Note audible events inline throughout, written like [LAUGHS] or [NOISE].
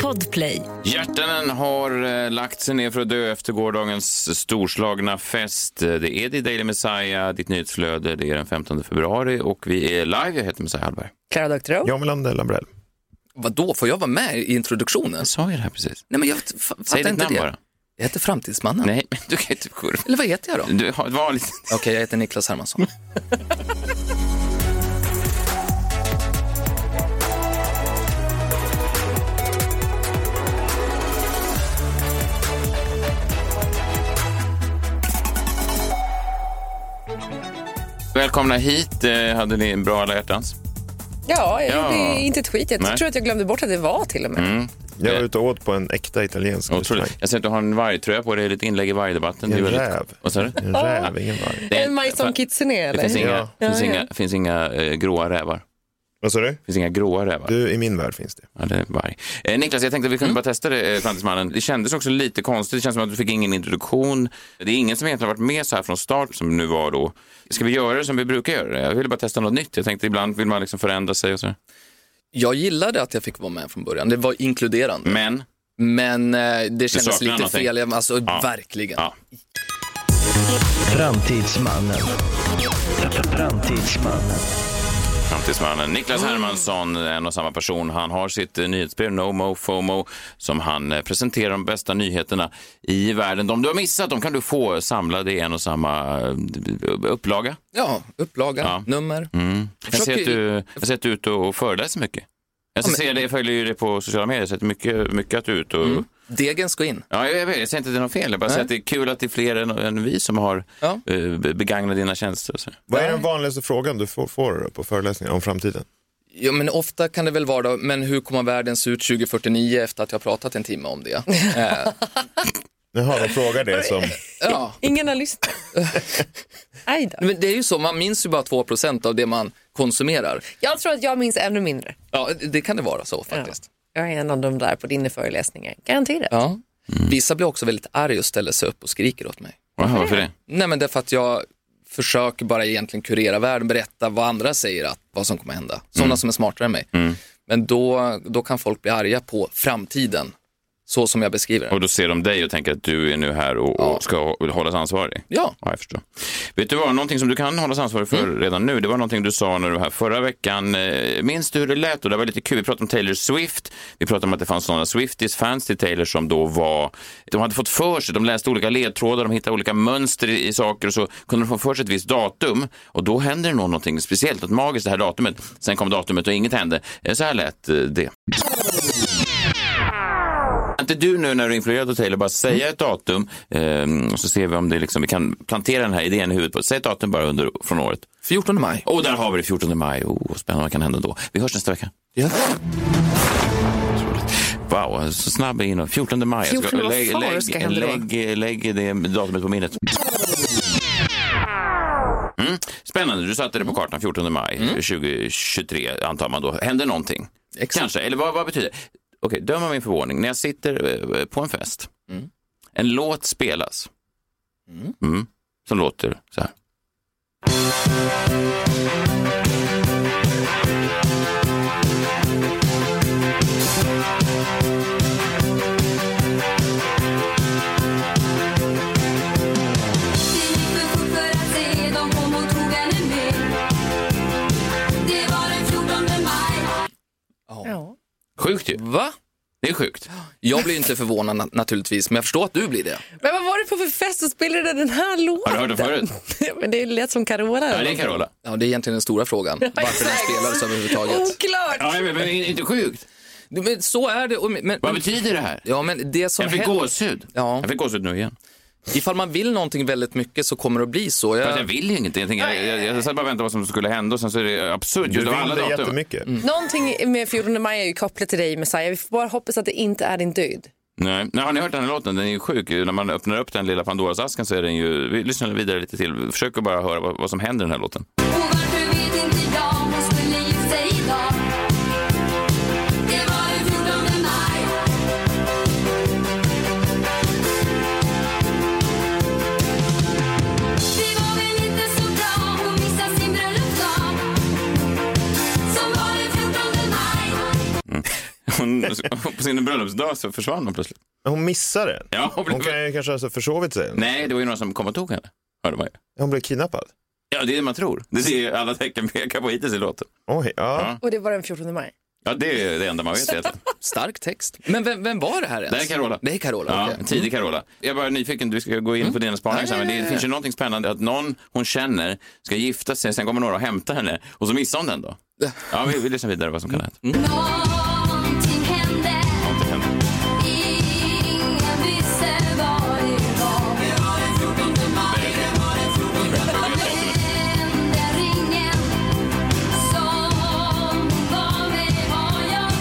Podplay. Hjärtanen har eh, lagt sig ner för att dö efter gårdagens storslagna fest. Eh, Det är The Daily Messiah, ditt nyhetsflöde. Det är den 15 februari och vi är live. Jag heter Messiah Hallberg. Klara Doktorow. Jag Melander Lambrell. Vadå, får jag vara med i introduktionen? Jag sa ju det här precis. Nej, men jag f- fattar Säg ditt inte namn det. bara. Jag heter Framtidsmannen. Nej, men du kan inte... kurva. Eller vad heter [LAUGHS] jag då? Du har ett vanligt... Okej, jag heter Niklas Hermansson. Välkomna hit. Eh, Hade ni en bra alla hjärtans? Ja, jag Ja. gjorde inte ett skit. Jag Nej. Mm. tror att jag glömde bort att det var till och med. Jag var ute och åt på en äkta italiensk restaurang. Otroligt. Jag ser att du har en vargtröja på dig. Det är lite inlägg i vargdebatten. En Det är väldigt- räv. Vad sa du? En räv, ingen varg. Det är- En Majson Kitsune Det finns eller? inga, Ja. finns Ja, inga, finns inga eh, gråa rävar. Vad sa du? finns inga gråa rävar. Du, i min värld finns det. Ja, det är varg. Eh, Niklas, jag tänkte att vi kunde bara testa det, eh, Framtidsmannen. Det kändes också lite konstigt. Det känns som att du fick ingen introduktion. Det är ingen som egentligen har varit med så här från start som nu var då. Ska vi göra det som vi brukar göra det? Jag ville bara testa något nytt. Jag tänkte ibland vill man liksom förändra sig och så. Jag gillade att jag fick vara med från början. Det var inkluderande. Men, Men eh, det kändes saknar lite någonting. fel. Jag- Alltså, verkligen. ja. Framtidsmannen. Framtidsmannen. Framtidsmannen Niklas Hermansson, en och samma person. Han har sitt eh, nyhetsbrev No Mo FOMO som han eh, presenterar de bästa nyheterna i världen. De du har missat, de kan du få samlade i en och samma eh, upplaga. Ja, upplaga, Ja. Mm. nummer. Jag ser, Försök- att du, jag ser att du är ute och föreläser mycket. Jag Ja, men- ser det, jag följer ju dig på sociala medier, så att mycket, mycket att du är ute och... Mm. Degen ska in. Ja, jag, vet, jag säger inte att det är något fel, jag bara säger att det är kul att det är fler än, än vi som har Ja. eh, be- begagnat dina tjänster. och Så. Vad är den vanligaste frågan du får, får på föreläsningar om framtiden? Ja, men ofta kan det väl vara, då, men hur kommer världen se ut 2049 efter att jag har pratat en timme om det? Eh, Jaha, de frågar [LAUGHS] det som... ja. Ingen har lyssnat. Aj då. men det är ju så, man minns ju bara 2% av det man konsumerar. Jag tror att jag minns ännu mindre. Ja, det kan det vara så Ja. faktiskt. Jag är en av de där på dina föreläsningar. Garanterat. Ja. Mm. Vissa blir också väldigt arg och ställer sig upp och skriker åt mig. Wow, varför det? Nej men därför att jag försöker bara egentligen kurera världen, berätta vad andra säger att vad som kommer hända. Sådana Mm. som är smartare än mig. Men då, då kan folk bli arga på framtiden, så som jag beskriver den. Och då ser de dig och tänker att du är nu här och, och ska hå- hållas ansvarig. Ja, Ja, jag förstår. Vet du vad, någonting som du kan hållas ansvarig för redan nu, det var någonting du sa när du var här förra veckan. Eh, Minns du hur det lät? Och det var lite kul. Vi pratade om Taylor Swift. Vi pratade om att det fanns sådana Swifties, fans till Taylor, som då var... De hade fått för sig, de läste olika ledtrådar, de hittade olika mönster i, i saker och så kunde de få för sig ett visst datum. Och då händer det nog någonting speciellt, något magiskt det här datumet. Sen kom datumet och inget hände. Eh, Så här lät eh, det. Kan inte du nu när du är influerad av Taylor bara säga ett datum ehm, och så ser vi om det liksom, vi kan plantera den här idén i huvudet på Säg ett datum bara under, från året. 14 maj. Och där har vi det, 14 maj. Oh, spännande, vad kan hända då? Vi hörs nästa vecka. Ja. Wow, så snabb är jag inne. 14 maj. Jag 14, vad fan lägg, ska hända då? lägg, lägg, lägg det datumet på minnet. Mm. Spännande, du satte det på kartan 14 maj 2023 antar man då. Händer någonting? Mm. Exakt. Kanske, eller vad, vad betyder det? Okej, döm av min förvåning. När jag sitter eh, på en fest, Mm. en låt spelas Mm. som låter så här. Vi gick för fort för att se, de kom och tog henne med. Det var den 14 maj. Ja. Sjukt ju, Va? det är sjukt. Jag blir ju inte förvånad na- naturligtvis, men jag förstår att du blir det. Men vad var det på för fest som spelade den här låten? Har du hört det [LAUGHS] förut? Men det lät som Carola. Ja, det är Carola. Ja, det är egentligen den stora frågan, varför den exakt. spelades överhuvudtaget. Oh. Oklart! Ja, men, men inte sjukt. Men så är det. och- Men, men, Vad betyder det här? Ja, men det som Jag fick händer, gåshud. Ja. Jag fick gåshud nu igen. ifall man vill någonting väldigt mycket så kommer det att bli så. Fast jag vill ju ingenting. Jag, tänker, jag, jag, jag satt bara och väntade vad som skulle hända och sen så är det absurt. Du just av vill alla det datum. Mm. jättemycket. Någonting med 14 maj är ju kopplat till dig Messiah. Vi får bara hoppas att det inte är din död. Nej. Nej, har ni hört den här låten? Den är ju sjuk. När man öppnar upp den lilla Pandoras-asken så är den ju... Vi lyssnar vidare lite till. Försök att bara höra vad, vad som händer i den här låten. [LAUGHS] Och varför vet inte jag, hon skulle gift sig idag. Det var den 14 maj. Vi var väl inte så bra, hon missade sin bröllopsdag. Som var den 14 maj. Hon hon på sin bröllopsdag så försvann hon plötsligt. Men hon missade den. Ja, hon blev... Hon kan ju kanske alltså försovit sig. Nej, det var ju någon som kom och tog henne. Hörde man ju. Hon blev kidnappad. Ja, det är det man tror. Det ser ju alla tecken pekar på hittills i låten. Oj, ja. Och det var den 14 maj. Ja, det är det enda man vet egentligen. Stark text. Men vem, vem var det här ens? Det här är Carola. Det är Carola, Ja, okej. Mm. tidig Carola. Jag är bara nyfiken, du ska gå in på dina spaningar sen, men Ja, ja, det ja. finns ju någonting spännande att någon hon känner ska gifta sig, sen kommer några och hämtar henne och så missar hon den då. Ja, vi, vi lyssnar vidare vad som kan ha Mm. hänt. Någonting hände. Ingen visste vad det var. Men den ringen som gav mig vad jag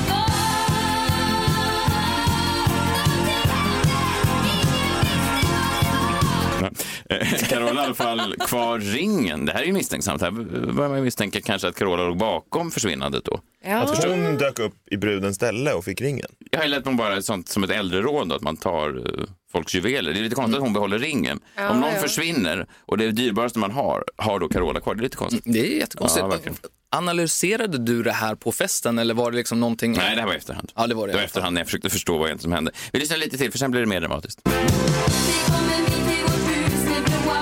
Eh, Carola i alla fall kvar ringen. Det här är ju misstänksamt. Här börjar man ju misstänka kanske att Carola låg bakom försvinnandet då. Ja. Först hon dök upp i brudens ställe och fick ringen. Jag har ju lärt mig bara ett sånt som ett äldreråd då, att man tar eh, folks juveler. Det är lite konstigt Mm. att hon behåller ringen. Ja, Om någon ja. försvinner och det är det dyrbaraste man har, har då Carola kvar. Det är lite konstigt. Det är jättekonstigt. Ja, verkligen. Analyserade du det här på festen eller var det liksom någonting? Nej, det här var i efterhand. Ja, det var det. var i efterhand när jag försökte förstå vad egentligen som hände. Vi lyssnar lite till, för sen blir det mer dramatiskt. Vi kommer mitt i vårt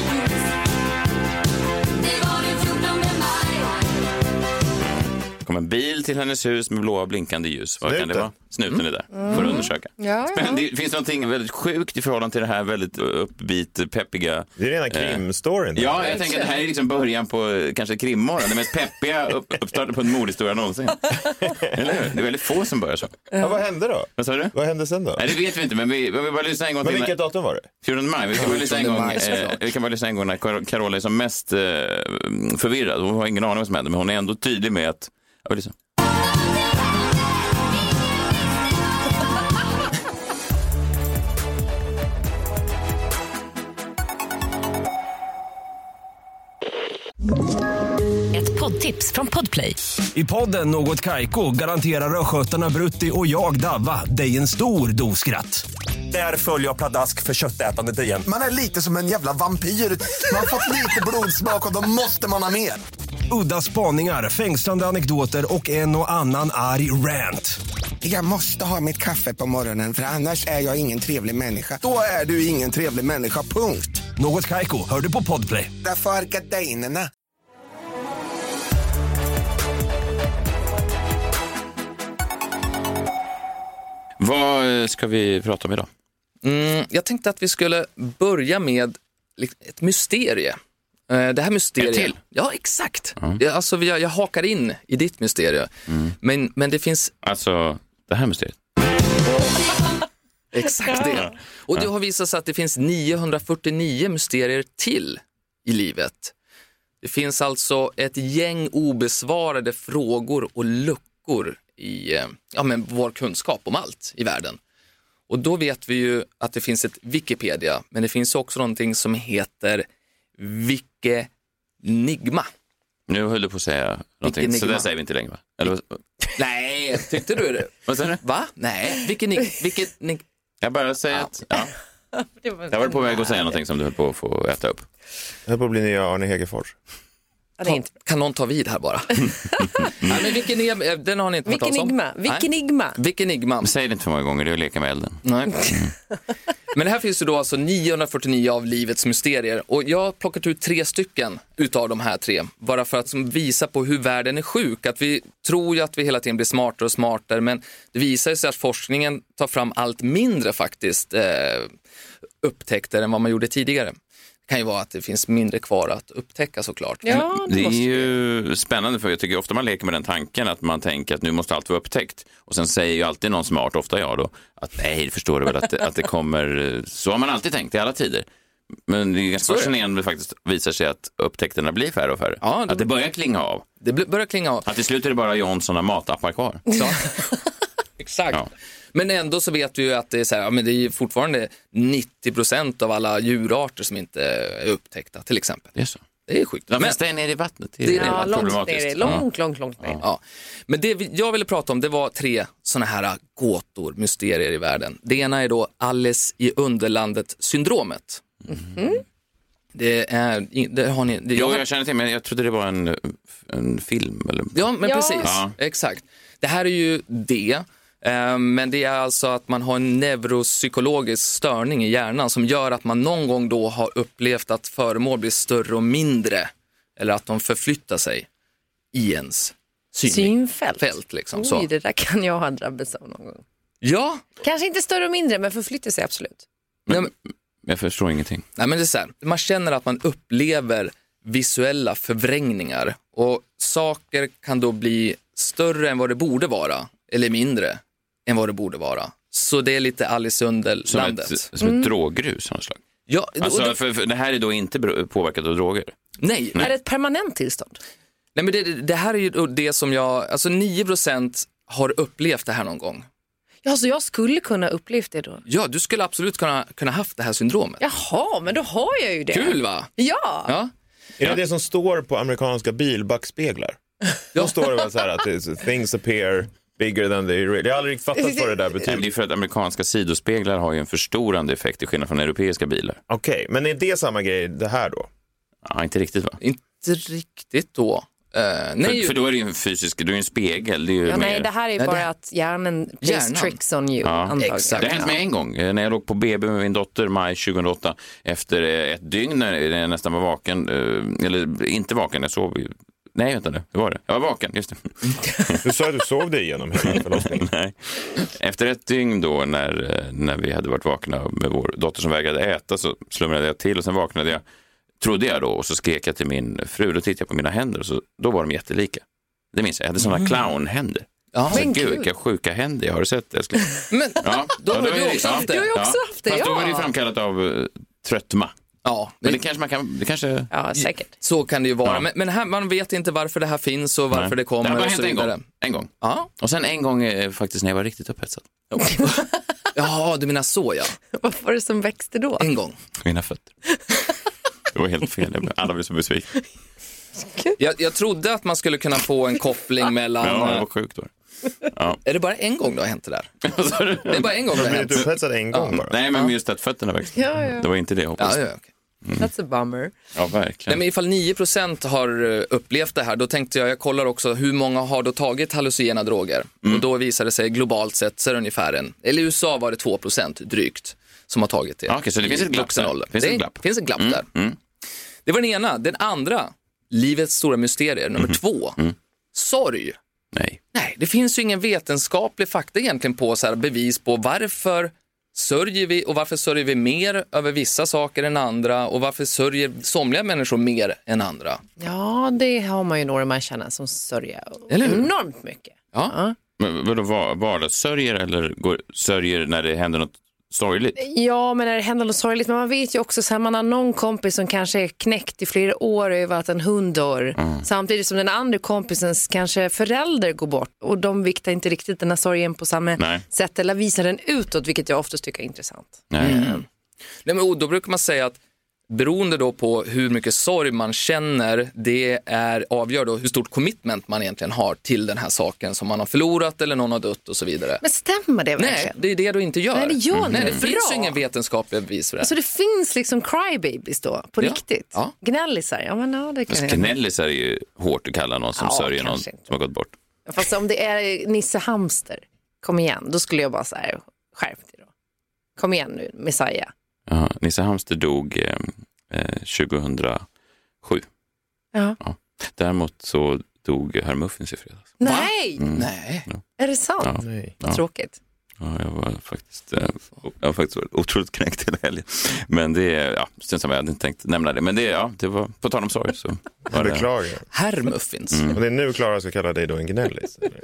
med blåa blinkande ljus. Det var den 14 maj. Det kom en bil till hennes hus med blåa blinkande ljus. Vad kan det Snuten. vara? Snuten är där, för att undersöka. Ja, ja. Men det finns någonting väldigt sjukt i förhållande till det här väldigt uppbit, peppiga. Det är rena krimstoryn. Eh. Ja, jag tänker att det här är liksom början på eh, kanske krimmorgon. Den mest peppiga upp, uppstarten på en mordhistoria någonsin. Eller hur? Det är väldigt få som börjar så. Ja, vad hände då? Vad sa du? Vad hände sen då? Nej, det vet vi inte, men vi, vi bara lyssnar en gång Men till. vilket datum var det? 14 maj. Vi kan bara lyssna en gång, 14 maj, eh, såklart. vi kan bara lyssna en gång när Car- Carola är som mest eh, förvirrad. Hon har ingen aning vad som händer, men hon är ändå tydlig med att... Ja, vi lyssnar. Ett poddtips från Podplay. I podden Något Kaiko garanterar östgötarna Brutti och jag, Davva, dig en stor dos skratt. Där följer jag pladask för köttätandet igen. Man är lite som en jävla vampyr. Man har fått lite blodsmak och då måste man ha mer. Udda spaningar, fängslande anekdoter och en och annan arg rant. Jag måste ha mitt kaffe på morgonen för annars är jag ingen trevlig människa. Då är du ingen trevlig människa, punkt. Något Kaiko, hör du på Podplay. Därför är gardinerna. Vad eh, ska vi prata om idag? Mm, jag tänkte att vi skulle börja med lik- ett mysterie. Eh, Det här mysteriet. Ett till? Ja, exakt. Jag, alltså, vi- jag, jag hakar in i ditt mysterie. Mm. Men, men det finns Alltså, det här mysteriet. exakt det. Och det har visat sig att det finns 949 mysterier till i livet. Det finns alltså ett gäng obesvarade frågor och luckor i eh, ja, men vår kunskap om allt i världen. Och då vet vi ju att det finns ett Wikipedia, men det finns också någonting som heter Wikenigma. Nu höll du på att säga någonting, så enigma? det säger vi inte längre. Va? Eller, vad- Nej, tyckte du det? vad säger du? Va? Nej, Wikenig... Wikenig... Jag bara säger att... Ja. [LAUGHS] Jag var på väg att säga någonting som du höll på att få äta upp. Jag höll på att bli nya Arne Hegerfors. Ja, det är inte. Kan någon ta vid här [LAUGHS] bara? Nej, men Wikenigma, den har ni inte hört Vilken talas om? igma. Vilken Nej. igma. Wikenigma. Säg det inte för många gånger, det är att leka med elden. [LAUGHS] Nej. Men här finns ju då alltså 949 av livets mysterier och jag har plockat ut tre stycken utav de här tre. Bara för att som visa på hur världen är sjuk. Att vi tror ju att vi hela tiden blir smartare och smartare men det visar ju sig att forskningen tar fram allt mindre faktiskt eh, upptäckter än vad man gjorde tidigare. Det kan ju vara att det finns mindre kvar att upptäcka såklart. Ja, det Det är måste ju spännande, för jag tycker ofta man leker med den tanken att man tänker att nu måste allt vara upptäckt. Och sen säger ju alltid någon smart, ofta jag då, att nej, det förstår du väl att det, att det kommer... eh, Så har man alltid tänkt i alla tider. Men det är ganska fascinerande faktiskt visar sig att upptäckterna blir färre och färre. Ja, det- Att det börjar klinga av. Det bl- börjar klinga av. Att till slut är det bara Johnson och matappar kvar. Ja. Exakt. Ja. Men ändå så vet vi ju att det är, så här, ja, men det är ju fortfarande 90 procent av alla djurarter som inte är upptäckta till exempel. Det är så. Det är sjukt. De Men, flesta är nere i vattnet. Det är, Det är Ja, väldigt långt problematiskt. ner. Ja. Långt, långt, långt ner. ja. men det vi- jag ville prata om det var tre sådana här gåtor, mysterier i världen. Det ena är då Alice i Underlandet-syndromet. Det, är, det har ni... Det, Jo, jag känner till, men jag trodde det var en, en film. Eller... Ja, men Ja. precis. Ja. Exakt. Det här är ju det. Eh, Men det är alltså att man har en neuropsykologisk störning i hjärnan som gör att man någon gång då har upplevt att föremål blir större och mindre eller att de förflyttar sig i ens syn. Synfält. Fält, liksom, så. Oj, det där kan jag ha drabbats av någon gång. Ja, Kanske inte större och mindre, men förflyttar sig absolut. nej, men, Jag förstår ingenting. nej, men det är så här. man känner att man upplever visuella förvrängningar och saker kan då bli större än vad det borde vara eller mindre än vad det borde vara. Så det är lite Alice i Som Underlandet. ett, som ett droggrus av något slag. Ja, och Alltså, då, för, för det här är då inte bero- påverkat av droger? nej, Är det ett permanent tillstånd? Nej, men det, det här är ju det som jag, alltså 9 har upplevt det här någon gång. Ja, så jag skulle kunna upplevt det då? Ja, du skulle absolut kunna, kunna haft det här syndromet. Jaha, men då har jag ju det. Kul va? Ja, Ja. Är det det som står på amerikanska bilbackspeglar? Då står det väl så här att det är så- things appear bigger than they really... Jag har aldrig fattat vad det Nej, där men betyder. Det är för att amerikanska sidospeglar har ju en förstorande effekt till skillnad från europeiska bilar. Okej, men är det samma grej det här då? Ja, inte riktigt va? Inte riktigt då. Eh, nej, För, för då är det ju en fysisk, du är ju en spegel. Det är ju Ja, mer... nej, det här är ju Nej, det- bara att hjärnan plays Hjärnan. tricks on you. antagligen. exakt. Det har hänt mig en gång eh, när jag låg på BB med min dotter maj 2008 efter eh, ett dygn när jag nästan var vaken, eh, eller inte vaken, jag sov ju. Nej, vänta nu, hur var det? Jag var vaken, just det. Du sa att du sov dig igenom hela förlossningen. [LAUGHS] Nej. Efter ett dygn då när, eh, när vi hade varit vakna med vår dotter som vägrade äta så slumrade jag till och sen vaknade jag, trodde jag då, och så skrek jag till min fru. Då tittade jag på mina händer och så, då var de jättelika. Det minns jag, jag hade sådana clownhänder. Mm. Ja. Så, gud, vilka sjuka händer jag har du sett det älskling? Men [LAUGHS] Ja, då ja, har då är du det- också ja. haft Du har det. ju också haft det, Fast då var det ju ja. framkallat av eh, tröttma. Ja, Men men det kanske man kan, det kanske... Ja, säkert. så kan det ju vara. Ja. Men, men här, man vet inte varför det här finns och varför Nej. det kommer har bara och så hänt en vidare. gång. En gång. Ja. Och sen en gång eh, faktiskt när jag var riktigt upphetsad. ja, du menar så ja. Vad var det som växte då? En gång. Mina fötter. Det var helt fel, jag blev- alla blev så besvikna. Jag, jag trodde att man skulle kunna få en koppling mellan... eh, Ja, jag var [LAUGHS] sjuk då. Är det bara en gång det har hänt det där? Vad sa du? Det är bara en gång det har Blev hänt. du upphetsad en gång bara? Nej, men just att fötterna växte. Ja, ja. Det var inte det jag hoppades. Ja, Ja, ja, okej. Mm. That's a bummer. verkligen. Nej, men ifall 9 har eh, upplevt det här, då tänkte jag, jag kollar också hur många har då tagit hallucinogena droger? Mm. Och då visar det sig globalt sett så är det ungefär en, eller i USA var det 2 drygt som har tagit det. Ja, okej, så det i finns ett glapp vuxen där. ålder. Finns det ett är- glapp. Mm, finns ett glapp där. Det var den ena. Den andra, livets stora mysterier, nummer Mm-hmm. två, Mm. sorg. Nej. Nej, det finns ju ingen vetenskaplig fakta egentligen på så här, bevis på varför sörjer vi och varför sörjer vi mer över vissa saker än andra och varför sörjer somliga människor mer än andra? Ja, det har man ju några man känner som sörjer Eller hur? enormt mycket. Ja. Men vadå, var- vardagssörjer eller går, sörjer när det händer något sorgligt? Ja, men när det händer något sorgligt. Men man vet ju också så här, man har någon kompis som kanske är knäckt i flera år över att en hund dör. Mm. Samtidigt som den andra kompisens kanske förälder går bort och de viktar inte riktigt den här sorgen på samma Nej. sätt eller visar den utåt, vilket jag oftast tycker är intressant. Nej. Nej, men, och då brukar man säga att beroende då på hur mycket sorg man känner, det är, avgör då hur stort commitment man egentligen har till den här saken som man har förlorat eller någon har dött och så vidare. Men stämmer det verkligen? Nej, det är det du inte gör. Nej, det gör det Nej, det inte. finns Bra. ju ingen vetenskaplig bevis för det. här. Så det finns liksom crybabies då, på Ja. riktigt? Ja. Alltså, Gnällisar, ja men ja, det kan Fast jag. gnällis är ju hårt att kalla någon som Ja, sörjer någon kanske inte. som har gått bort. Fast om det är Nisse Hamster, kom igen, då skulle jag bara säga skärp dig då. Kom igen nu, Messiah. Jaha, Nisse Hamster dog eh, eh, 2007. Ja. Däremot så dog Herr Muffins i fredags. Nej, Nej. är det sant? Mm. Ja. Nej. Ja. Tråkigt. Ja, jag var faktiskt, eh, o- jag var faktiskt varit otroligt knäckt hela helgen. Men det, är- ja, syns som jag hade inte tänkt nämna det. Men det, är- ja, det var, på tal om sorg [LAUGHS] så var Jag det. beklagar. Herr Muffins. Och det är nu Klara ska kalla dig då en gnällis. eller?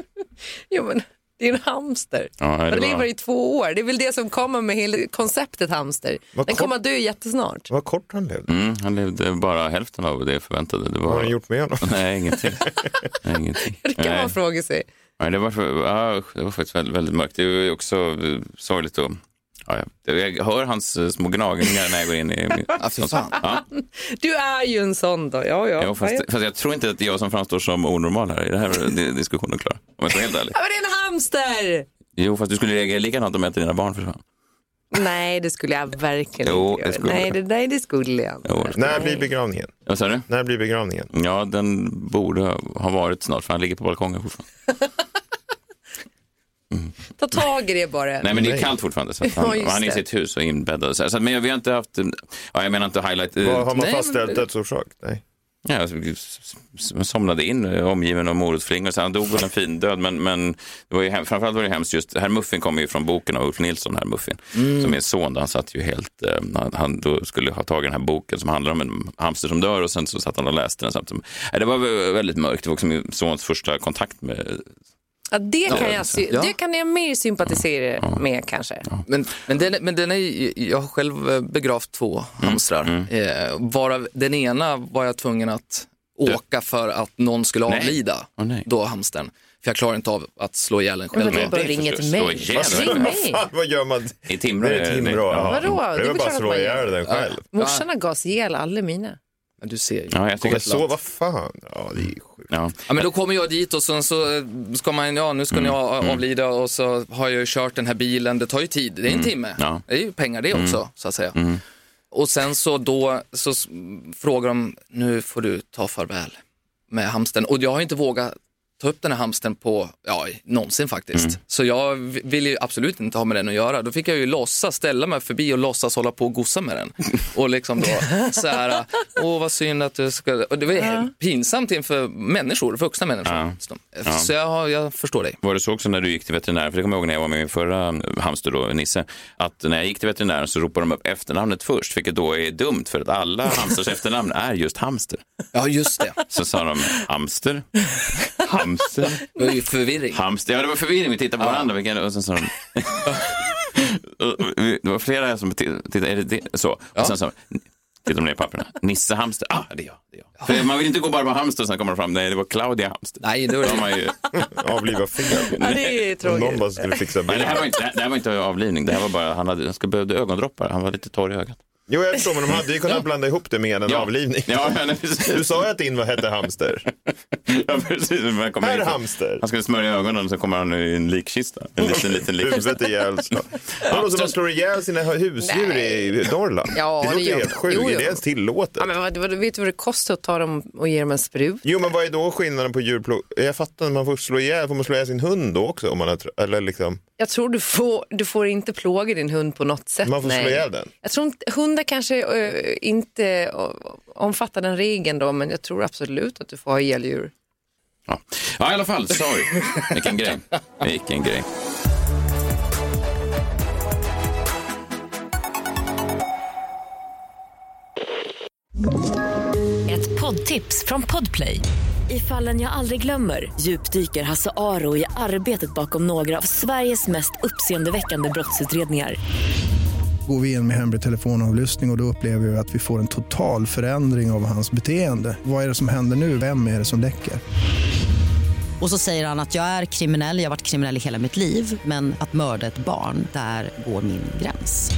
Jo, men det är en hamster. Ja, det Den var- lever i två år. Det är väl det som kommer med hela konceptet hamster. Vad Den kort- kommer att dö jättesnart. Vad kort han levde. Mm, han levde bara hälften av det jag förväntade. Det Vad har var, han gjort med honom? Nej, [LAUGHS] ingenting. Nej, ingenting. Det kan Nej. man fråga sig. Nej, det, var, för- ja, usch, det var faktiskt väldigt, väldigt mörkt. Det var ju också eh, sorgligt. Och, ja, jag, jag hör hans eh, små gnagningar när jag går in i... [LAUGHS] min- Ja, för fan. Ja, Du är ju en sån då. Ja, ja. jo, fast, fast jag tror inte att det är jag som framstår som onormal här i den här di- diskussionen, Klara. Om jag ska vara helt ärlig. Ja, men det är en hamster! Jo, fast du skulle reagera likadant om ett av dina barn försvann. Nej, det skulle jag verkligen Jo, inte det göra. skulle nej, jag. det, nej, det skulle jag inte. Jo, det skulle När blir begravningen? jag. Vad sa du? När blir begravningen? Ja, den borde ha varit snart, för han ligger på balkongen fortfarande. Ta tag i det bara. Nej, men det är kallt fortfarande. Så att Ja, han, just han är i det. sitt hus och inbäddad. och Så här. Så att, men jag- vi har inte haft, eh, ja, jag menar inte highlight. eh, Vad har man nej, men- fastställt dödsorsak? Nej. Ja, jag s- s- s- somnade in eh, omgiven av morotsflingor. Så han dog väl en fin död. Men, men det var ju hem, framförallt var det hemskt just, herr Muffin kommer ju från boken av Ulf Nilsson, herr Muffin, som är son. Han satt ju helt, eh, han, han då skulle ha tagit den här boken som handlar om en hamster som dör och sen så satt han och läste den. Samtidigt. Nej, Det var vä- väldigt mörkt. Det var också min sons första kontakt med Ja, det, kan jag, sy- Ja. det kan jag mer sympatisera med kanske. Men, men, den, är- men den är, jag har själv eh, begravt två Mm. hamstrar. Eh, varav den ena var jag tvungen att åka för att någon skulle Nej. avlida. Åh, nej. Då hamstern. För jag klarar inte av att slå ihjäl den Men själv. vadå, det är bara ringer till förstås. mig. Slå ihjäl. Ring mig. Fan, vad gör man? i Timrå. Det är ett eh, Timrå. ja. jaha. Vadå? Det är Det är väl väl bara klart att att slå man ihjäl den själv. Morsorna gas ihjäl alla mina. Men Du ser ju. Ja, jag tycker Jag så, vad fan. Ja, det är sjukt. Ja. Ja, men då kommer jag dit och sen så eh, ska man, ja nu ska Mm. ni a- avlida och så har jag ju kört den här bilen, det tar ju tid, det är en timme. Mm. Ja. Mm. Det är ju pengar det också, så att säga. Och sen så då så s- frågar de, nu får du ta farväl med hamsten. Och jag har ju inte vågat ta upp den här hamsten på, ja, någonsin faktiskt. Så jag v- vill ju absolut inte ha med den att göra. Då fick jag ju låtsas ställa mig förbi och låtsas hålla på och gossa med den. Och liksom då så här, åh vad synd att du ska... Och det var ja. pinsamt inför människor, vuxna människor. Så jag, har- jag förstår dig. Var det så också när du gick till veterinären, för det kommer jag ihåg när jag var med min förra eh, hamster då, Nisse, att när jag gick till veterinären så ropade de upp efternamnet först, vilket då är dumt för att alla [LAUGHS] hamsters efternamn är just hamster. Ja, just det. Så sa de hamster, hamster, Det var ju förvirring. hamster. Ja, det var förvirring, vi tittade på varandra. Vilken, och sen sa de... [LAUGHS] Och vi- det var flera som t- tittade, är det det? Så. Och sen sa de, tittade de ner i papperna, Nisse hamster, ah det är jag. Det är jag. För man vill inte gå bara på hamster och sen kommer de fram, nej det var Claudia hamster. Nej, det var Då har det. man ju... [LAUGHS] Avliva fel. Ja, det är Om [LAUGHS] någon tråkigt. bara skulle fixa Nej, det, här bilen. var inte, det här var inte avlivning, det här var bara, han, hade, han skulle behövde ögondroppar, han var lite torr i ögat. Jo, jag förstår, men de hade ju kunnat blanda ihop det med en avlivning. Ja, ja, nej, precis. Du sa ju att din vad hette hamster. [LAUGHS] Ja, precis. Men han kommer Herr hit och- hamster. Han skulle smörja ögonen och så kommer han i en likkista. En liten, liten likkista. [LAUGHS] Huvudet ihjälslå. Det låter som man slår ihjäl sina husdjur i Norrland. Ja, det det låter gör helt man. sjukt. Jo, Är jo. det ens tillåtet? Ja, men vad, vad, vet du vad det kostar att ta dem och ge dem en sprut? Jo, men vad är då skillnaden på djurplå... Jag fattar, man får slå ihjäl, får man slå ihjäl sin hund då också? Om man har, tr- eller liksom, Jag tror du får, du får inte plåga din hund på något sätt. man får slå ihjäl den. Jag tror inte, hundar kanske eh, inte eh, omfattar den regeln då, men jag tror absolut att du får ha ihjäl djur. Ja. ja, i alla fall. Sorry. Vilken grej. Vilken grej. Ett poddtips från Podplay. I fallen jag aldrig glömmer djupdyker Hasse Aro i arbetet bakom några av Sveriges mest uppseendeväckande brottsutredningar. Går vi in med hemlig telefonavlyssning och, och då upplever vi att vi får en total förändring av hans beteende. Vad är det som händer nu? Vem är det som läcker? Och så säger han att jag är kriminell, jag har varit kriminell i hela mitt liv men att mörda ett barn, där går min gräns.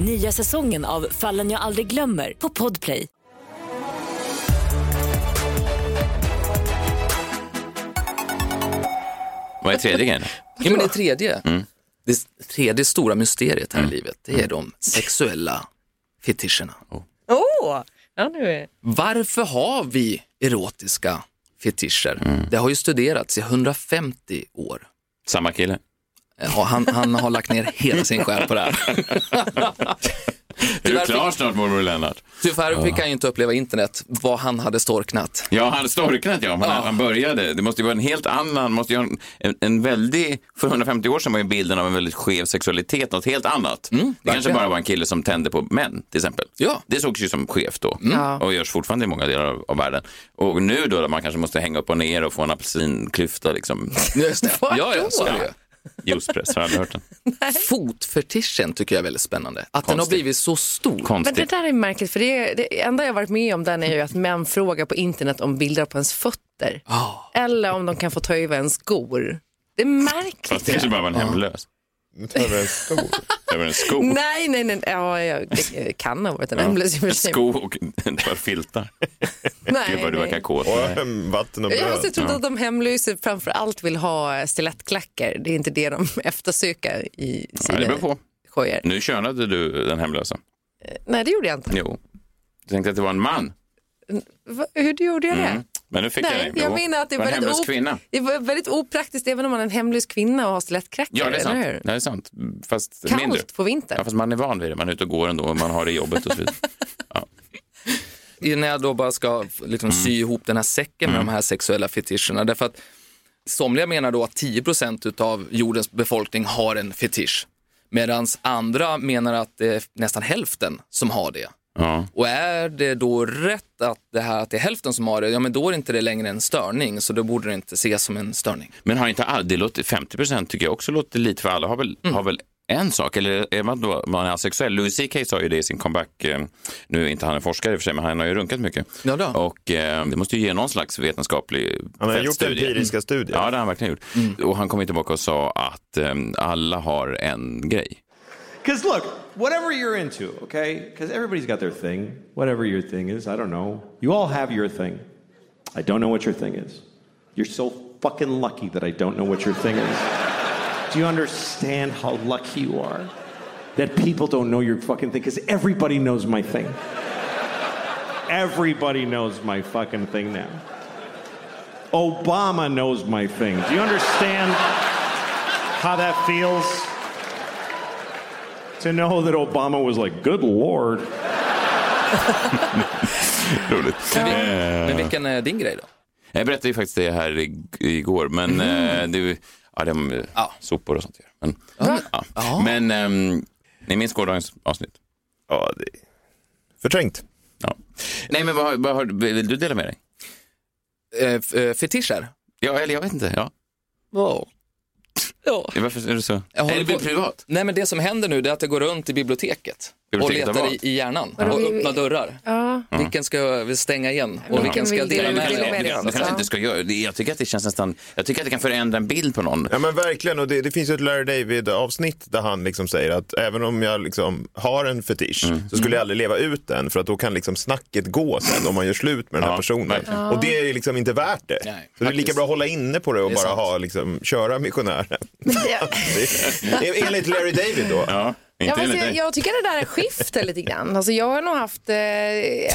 Nya säsongen av Fallen jag aldrig glömmer på Podplay. Vad är tredje grejen? Ja, men det tredje. Det s- tredje stora mysteriet här i livet, det är de sexuella fetischerna. Åh! Ja, nu är... Varför har vi erotiska fetischer? Det har ju studerats i 150 år. Samma kille. Ja, han, han har lagt ner hela sin själ på det här. Är du Tyvärr klar snart, morbror Lennart? Tyvärr fick han ju inte uppleva internet, vad han hade storknat. Ja, han storknat ja. Han, han började. Det måste ju vara en helt annan, måste ju ha en, en, en väldig, för 150 år sedan var ju bilden av en väldigt skev sexualitet något helt annat. det kanske Mm, verkligen. bara var en kille som tände på män till exempel. Ja. Mm. Det sågs ju som skevt då Ja. och görs fortfarande i många delar av, av världen. Och nu då, där man kanske måste hänga upp och ner och få en apelsinklyfta liksom. Just det. Vadå? Ja, ja, så är det ju. Juicepress, har jag aldrig hört den. Fotfetischen tycker jag är väldigt spännande. Att den har Konstigt. blivit så stor. Men det Konstigt. där är märkligt, för det, det enda jag varit med om den är ju att män frågar på internet om bilder på ens fötter. Ah. Ja. Eller om de kan få ta över ens skor. Det är märkligt. Fast det kanske bara var en hemlös. Nu tar vi en stor. Över en sko. Nej, nej, nej. Ja, jag, det kan ha varit en hemlös i och för En sig. sko och ett par filtar. Nej, Gud vad du nej. verkar kåt. Och [LAUGHS] ehm, vatten och Jag måste bröd. tro att de hemlösa framför allt vill ha stilettklackar. Det är inte det de [LAUGHS] eftersöker i Ja, sina det beror på. skojar. Nu könade du den hemlösa. Nej, det gjorde jag inte. Jo. Du tänkte att det var en man. Mm. Va, hur gjorde jag det? Men nu fick jag det. Mm. Nej, jag Jo. menar att det är, var en väldigt hemlös op- kvinna. det är väldigt opraktiskt även om man är en hemlös kvinna och har stilettkräkor. Ja, det är sant. eller hur? Det är sant. Fast Kallt mindre. på vintern. Ja, fast man är van vid det. Man är ute och går ändå och man har det i jobbet och [LAUGHS] så vidare. När jag då bara ska liksom sy ihop den här säcken med de här sexuella fetischerna. Därför att somliga menar då att 10 av jordens befolkning har en fetisch. Medan andra menar att det är nästan hälften som har det. Ja. Och är det då rätt att det här att det är hälften som har det, ja men då är inte det längre en störning, så då borde det inte ses som en störning. Men har inte all, det låter, 50 procent tycker jag också låter lite för alla har väl, har väl en sak, eller är man då man är asexuell? Louis CK sa ju det i sin comeback, eh, nu är inte han en forskare i och för sig, men han har ju runkat mycket. Ja då. Och eh, det måste ju ge någon slags vetenskaplig Han har gjort fältstudie. empiriska studier. Ja, det har han verkligen gjort. Och han kom ju tillbaka och sa att eh, alla har en grej. Because look, whatever you're into, okay? Because everybody's got their thing. Whatever your thing is, I don't know. You all have your thing. I don't know what your thing is. You're so fucking lucky that I don't know what your thing is. Do you understand how lucky you are that people don't know your fucking thing? Because everybody knows my thing. Everybody knows my fucking thing now. Obama knows my thing. Do you understand how that feels? to know that Obama was like, good lord. Roligt. Eh, Men vilken är din grej då? Jag berättade ju faktiskt det här i- igår, Mhm. men eh, det, är ju- ja, det är ja. sopor och sånt. Men, ja. men ehm, ni minns gårdagens avsnitt? Ja, det... Förträngt. Ja. Nej, men vad, vad har, vill du dela med dig? Eh, f- eh, fetischer? Ja, eller jag vet inte. Ja. Wow. Ja. Varför är du så? Jag håller Nej, det blir på- privat. Nej, men det som händer nu det är att jag går runt i biblioteket, Biblioteket Mm. och av letar vad? i, i hjärnan Vadå, och vi- öppnar dörrar. Ja. Vilken ska jag stänga igen och vilken ska jag vill dela du med dela mig med av? dig av? Jag kanske Ja. inte ska göra det. Jag tycker att det känns nästan... Jag tycker att det kan förändra en bild på någon. Ja men verkligen, och det, det finns ju ett Larry David-avsnitt där han liksom säger att även om jag liksom har en fetisch Mm. så skulle jag aldrig leva ut den för att då kan liksom snacket gå sen om man gör slut med den här Ja, personen. verkligen. Och det är ju liksom inte värt det. Nej, så det är lika faktiskt. bra att hålla inne på det och Det är bara sant. ha, liksom, köra missionären. [LAUGHS] Det är- Enligt Larry David då. Ja, inte Ja, fast enligt jag, dig. jag tycker det där skiftar lite grann. Alltså, jag har nog haft, eh,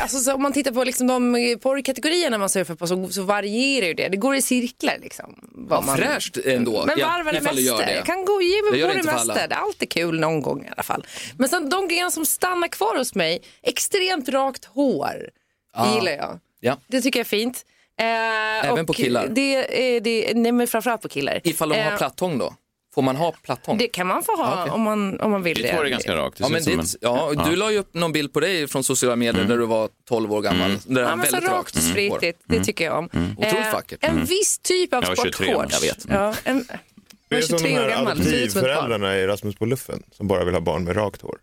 alltså, så om man tittar på liksom, de eh, porrkategorierna man surfar på så, så varierar ju det. Det går i cirklar liksom. Vad man... Fräscht ändå. Men i varv eller alla fall du gör mäster. det. Jag kan gå ge Jag mig gör på det det inte för alla. mesta. Det är alltid kul någon gång i alla fall. Men sen de grejerna som stannar kvar hos mig, extremt rakt hår det gillar jag. Ja. Det tycker jag är fint. Eh, Även på killar? Det, eh, det, nej men framförallt på killar. Ifall de har Eh, plattång då? Får man ha plattång? Det kan man få ha okej. om, man, om man vill Ditt det. hår är ganska rakt. Det Ja, ser men ut som Mm. ditt, ja, Du la ju upp någon bild på dig från sociala medier där du var 12 år gammal. Där Ja, men så rakt Mm. och spritigt, det tycker jag om. Eh, Otroligt vackert. Mm. En viss typ av Jag var 23 år, sportshorts. jag vet. Ja, en, Det jag är är som de 23 år här gammal, det ser ut som ett barn. Mm. adoptivföräldrarna i Rasmus på luffen som bara vill ha barn med rakt hår.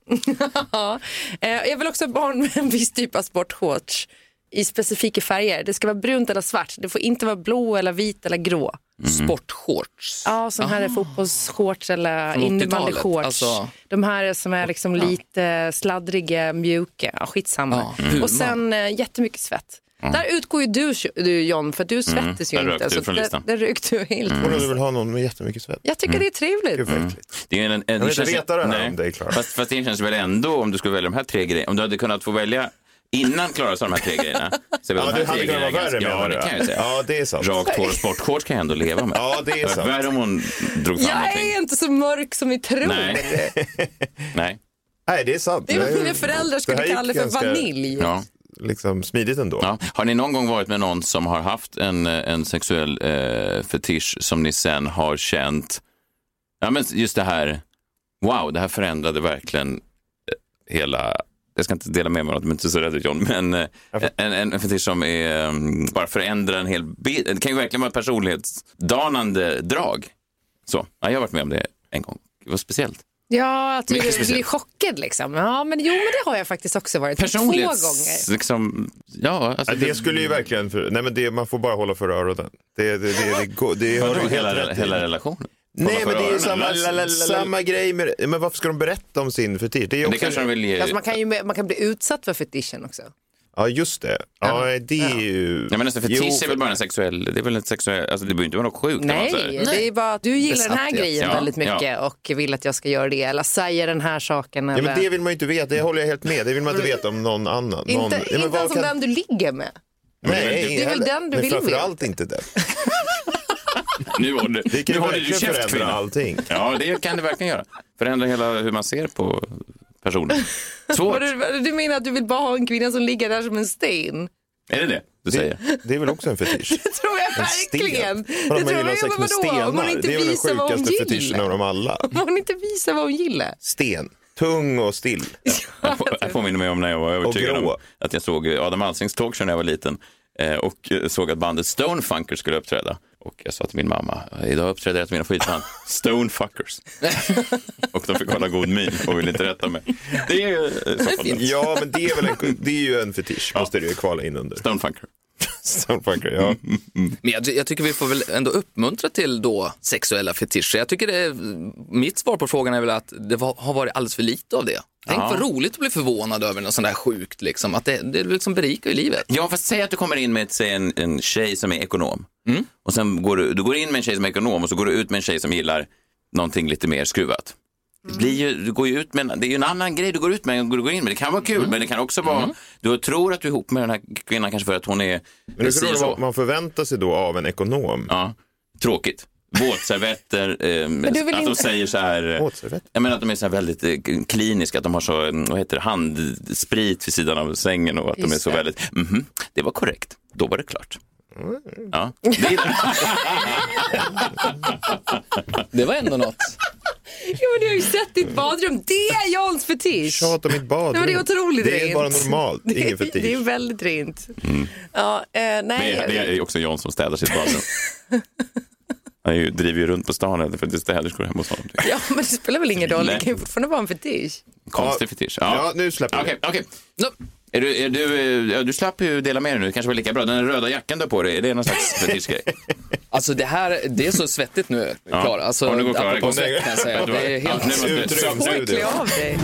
Ja. Eh, Jag vill också ha barn med en [LAUGHS] viss typ av sportshorts i specifika färger. Det ska vara brunt eller svart. Det får inte vara blå eller vit eller grå. Mm. Ah. Sportshorts. Ja, som här är fotbollsshorts eller Från 80-talet, innebandyshorts. alltså. De här är som är liksom lite sladdriga, mjuka. Ja, skitsamma. Ja, Puma. Och sen eh, jättemycket svett. Där utgår ju du, du John, för du Mm. svettas Där ju rök inte. du Mm, från där, listan. där rök du helt. Och du vill ha någon med jättemycket svett. Jag tycker det är trevligt. Gud, vad Mm. äckligt. Det är en, en, jag vill inte veta det här om dig, Clara. Fast, fast det känns väl ändå, om du skulle välja de här tre grejerna, om du hade kunnat få välja innan Klara sa de här tre grejerna. Så är väl Ja, de här du tre hade kunnat grejerna vara värre ganska- menar Ja, det du, kan jag ju säga. Ja, det är sant. Rakt hår och sportshorts kan jag ändå leva med. Ja, det är var sant. Värre om hon drog fram Jag någonting. är inte så mörk som ni tror. Nej. Nej. Nej, det är sant. Det är vad Det är- mina föräldrar det skulle här gick kalla för ganska- vanilj. Ja. Liksom smidigt ändå. Ja. Har ni någon gång varit med någon som har haft en, eh, en sexuell eh, fetisch som ni sen har känt, ja men just det här, wow, det här förändrade verkligen eh, hela, jag ska inte dela med mig av något, men inte så rädd ut, John, men eh, en, en, en fetisch som är, mm, bara förändrar en hel bild, det kan ju verkligen vara ett personlighetsdanande drag. Så, ja, jag har varit med om det en gång, det var speciellt. Ja, att du Mycket blir speciellt. chockad liksom. Ja, men jo, men det har jag faktiskt också varit. Två gånger. Personlighets, liksom, ja, alltså, Ja, Det skulle ju verkligen, för, nej men det, man får bara hålla för öronen. Det, det, det, det, går- det har Vadå, du helt hela, rätt i. hela relationen? Nej Kolla men för det är ju öronen. samma, Lalalala. samma grej med Men varför ska de berätta om sin fetisch? Det är ju Men Det också, kanske de vill ge... Alltså, man, kan ju, man kan bli utsatt för fetischen också. Ja just det. Ja, det är ju... Nej, men alltså, Jo, fetisch är väl bara en sexuell... Det är väl ett sexuell... Alltså, det behöver inte vara något sjukt. när man Nej, säger. det är bara att du gillar den här Besatthet. grejen Ja, väldigt mycket och vill att jag ska göra det eller säga den här saken. Ja, Eller... men det vill man ju inte veta, det håller jag helt med. Det vill man inte veta om någon annan. någon, Inte, Nej, men inte vad ens om kan- den du ligger med. Men det är väl Nej, du- Det är väl den du Men vill framförallt inte den. [LAUGHS] Nu har du, Det kan nu ju har du ju verkligen käft, förändra kvinna. allting. Ja, det kan det verkligen göra. Förändra hela hur man ser på [LAUGHS] personen. Svårt. Vad Du, vad du menar att du vill bara ha en kvinna som ligger där som en sten? Är det det du säger? [LAUGHS] Det är väl också en fetisch? Det tror jag En sten? verkligen. Vadå, Det man tror gillar jag, sex men med vadå? Om hon stenar. inte Det är väl den visar vad hon sjukaste fetischen av gillar. dem alla. Om hon inte visar vad hon gillar. Sten. Tung och still. Det här påminner mig om när jag var övertygad grå. om att jag såg Adam Alsings talkshow när jag var liten eh, och eh, såg att bandet Stonefunkers skulle uppträda. Och jag sa till min mamma, idag uppträder ett av mina [LAUGHS] skivband, Stonefuckers. [LAUGHS] och de fick hålla god min och ville inte rätta mig. Det är ju eh, så fall- Ja, men det är, väl en, det är ju en fetisch. Måste det ju kvala in under. Stonefunker. Stonefucker, ja. Men jag, jag tycker vi får väl ändå uppmuntra till då sexuella fetischer. Jag tycker det, mitt svar på frågan är väl att det var, har varit alldeles för lite av det. Tänk Ja. vad roligt att bli förvånad över något sånt där sjukt, liksom. att det, det liksom berikar ju livet. Ja, fast säg att du kommer in med säg en, en tjej som är ekonom. Och sen går du, du går in med en tjej som är ekonom och så går du ut med en tjej som gillar någonting lite mer skruvat. Det, blir ju, du går ju ut med, en- det är ju en annan grej du går ut med. än Du går in med. Det kan vara kul, men det kan också vara... Du tror att du är ihop med den här kvinnan kanske för att hon är... Men det si är och vad man förväntar sig då av en ekonom. Ja, tråkigt. Våtservetter, ehm, [LAUGHS] Men du vill att de inte- säger så här... eh, Våtservett? Jag menar att de är så här väldigt eh, kliniska, att de har så, eh, vad heter det, handsprit vid sidan av sängen och att de är Just så det. väldigt, mhm, det var korrekt, då var det klart. Ja, det är, Det var ändå [LAUGHS] något. Ja, men du har ju sett ditt badrum. Det är Jans fetisch. Tjat om mitt badrum. Nej, men det är otroligt Det är rent. bara normalt, Det är- ingen fetisch. Det är väldigt rent. Ja, eh, nej. Mm. det är- det är också John som städar sitt [LAUGHS] badrum. Han är ju, driver ju runt på stan eh, för att det är städerskor hemma hos honom. Ja, men det spelar väl ingen roll. Nej. Det kan ju fortfarande vara en fetisch. Konstig fetisch. Ja, Ja. nu släpper vi Okej, okej. Är du, är du, eh, ja, du slapp ju dela med dig nu, det kanske var lika bra. Den röda jackan du har på dig, är det någon slags [LAUGHS] fetischgrej? Alltså det här, det är så svettigt nu, Klara. Alltså, Ja, nu går Klara igång. apropå svett kan jag säga. Det är helt... Ja, nu måste- Utrymd, Oj, klä av dig.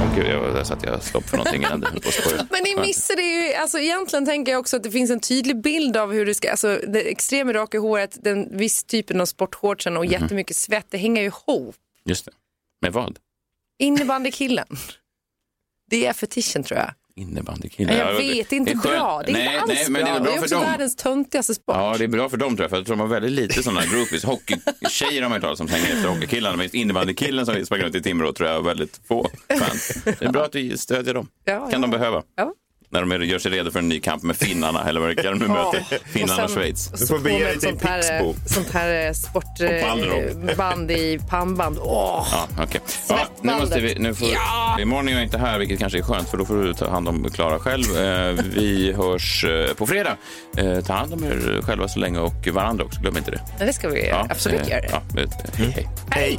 Åh, Gud, jag, där satte jag stopp för någonting innan du höll på att spåra. Men ni missade ju, alltså egentligen tänker jag också att det finns en tydlig bild av hur du ska, alltså det extrem rak i håret, den viss typen av sportshortsen Mhm. och jättemycket svett, det hänger ju ihop. Just det. Med vad? Innebandykillen. [LAUGHS] Det är fetischen tror jag. Innebandykillar. jag vet, det är inte skönt. bra. Det är nej, inte alls nej, men bra. Det är bra också för dem. världens töntigaste sport. Ja, det är bra för dem tror jag, för jag tror de har väldigt lite sådana groupies. Hockeytjejer har man ju talat om som hänger efter hockeykillarna, men just innebandykillen som sprang runt i Timrå tror jag har väldigt få fans. Det är bra att du stödjer dem. Ja, kan de ja. behöva. Ja. När de är- gör sig redo för en ny kamp med finnarna, eller vad det kan de nu möter. Finnarna och sen- Schweiz. och så Du får på bege med dig ett till sånt här, Pixbo. eh, Sånt här Palmrock. sportband i pannband. Åh! Ja, okej. ja, nu måste vi, nu får, Imorgon är jag inte här, vilket kanske är skönt, för då får du ta hand om Klara själv. Eh, vi hörs eh, på fredag. Eh, ta hand om er själva så länge och varandra också, glöm inte det. Men Det ska vi Ja, absolut eh, göra. Ja, eh, hej, hej.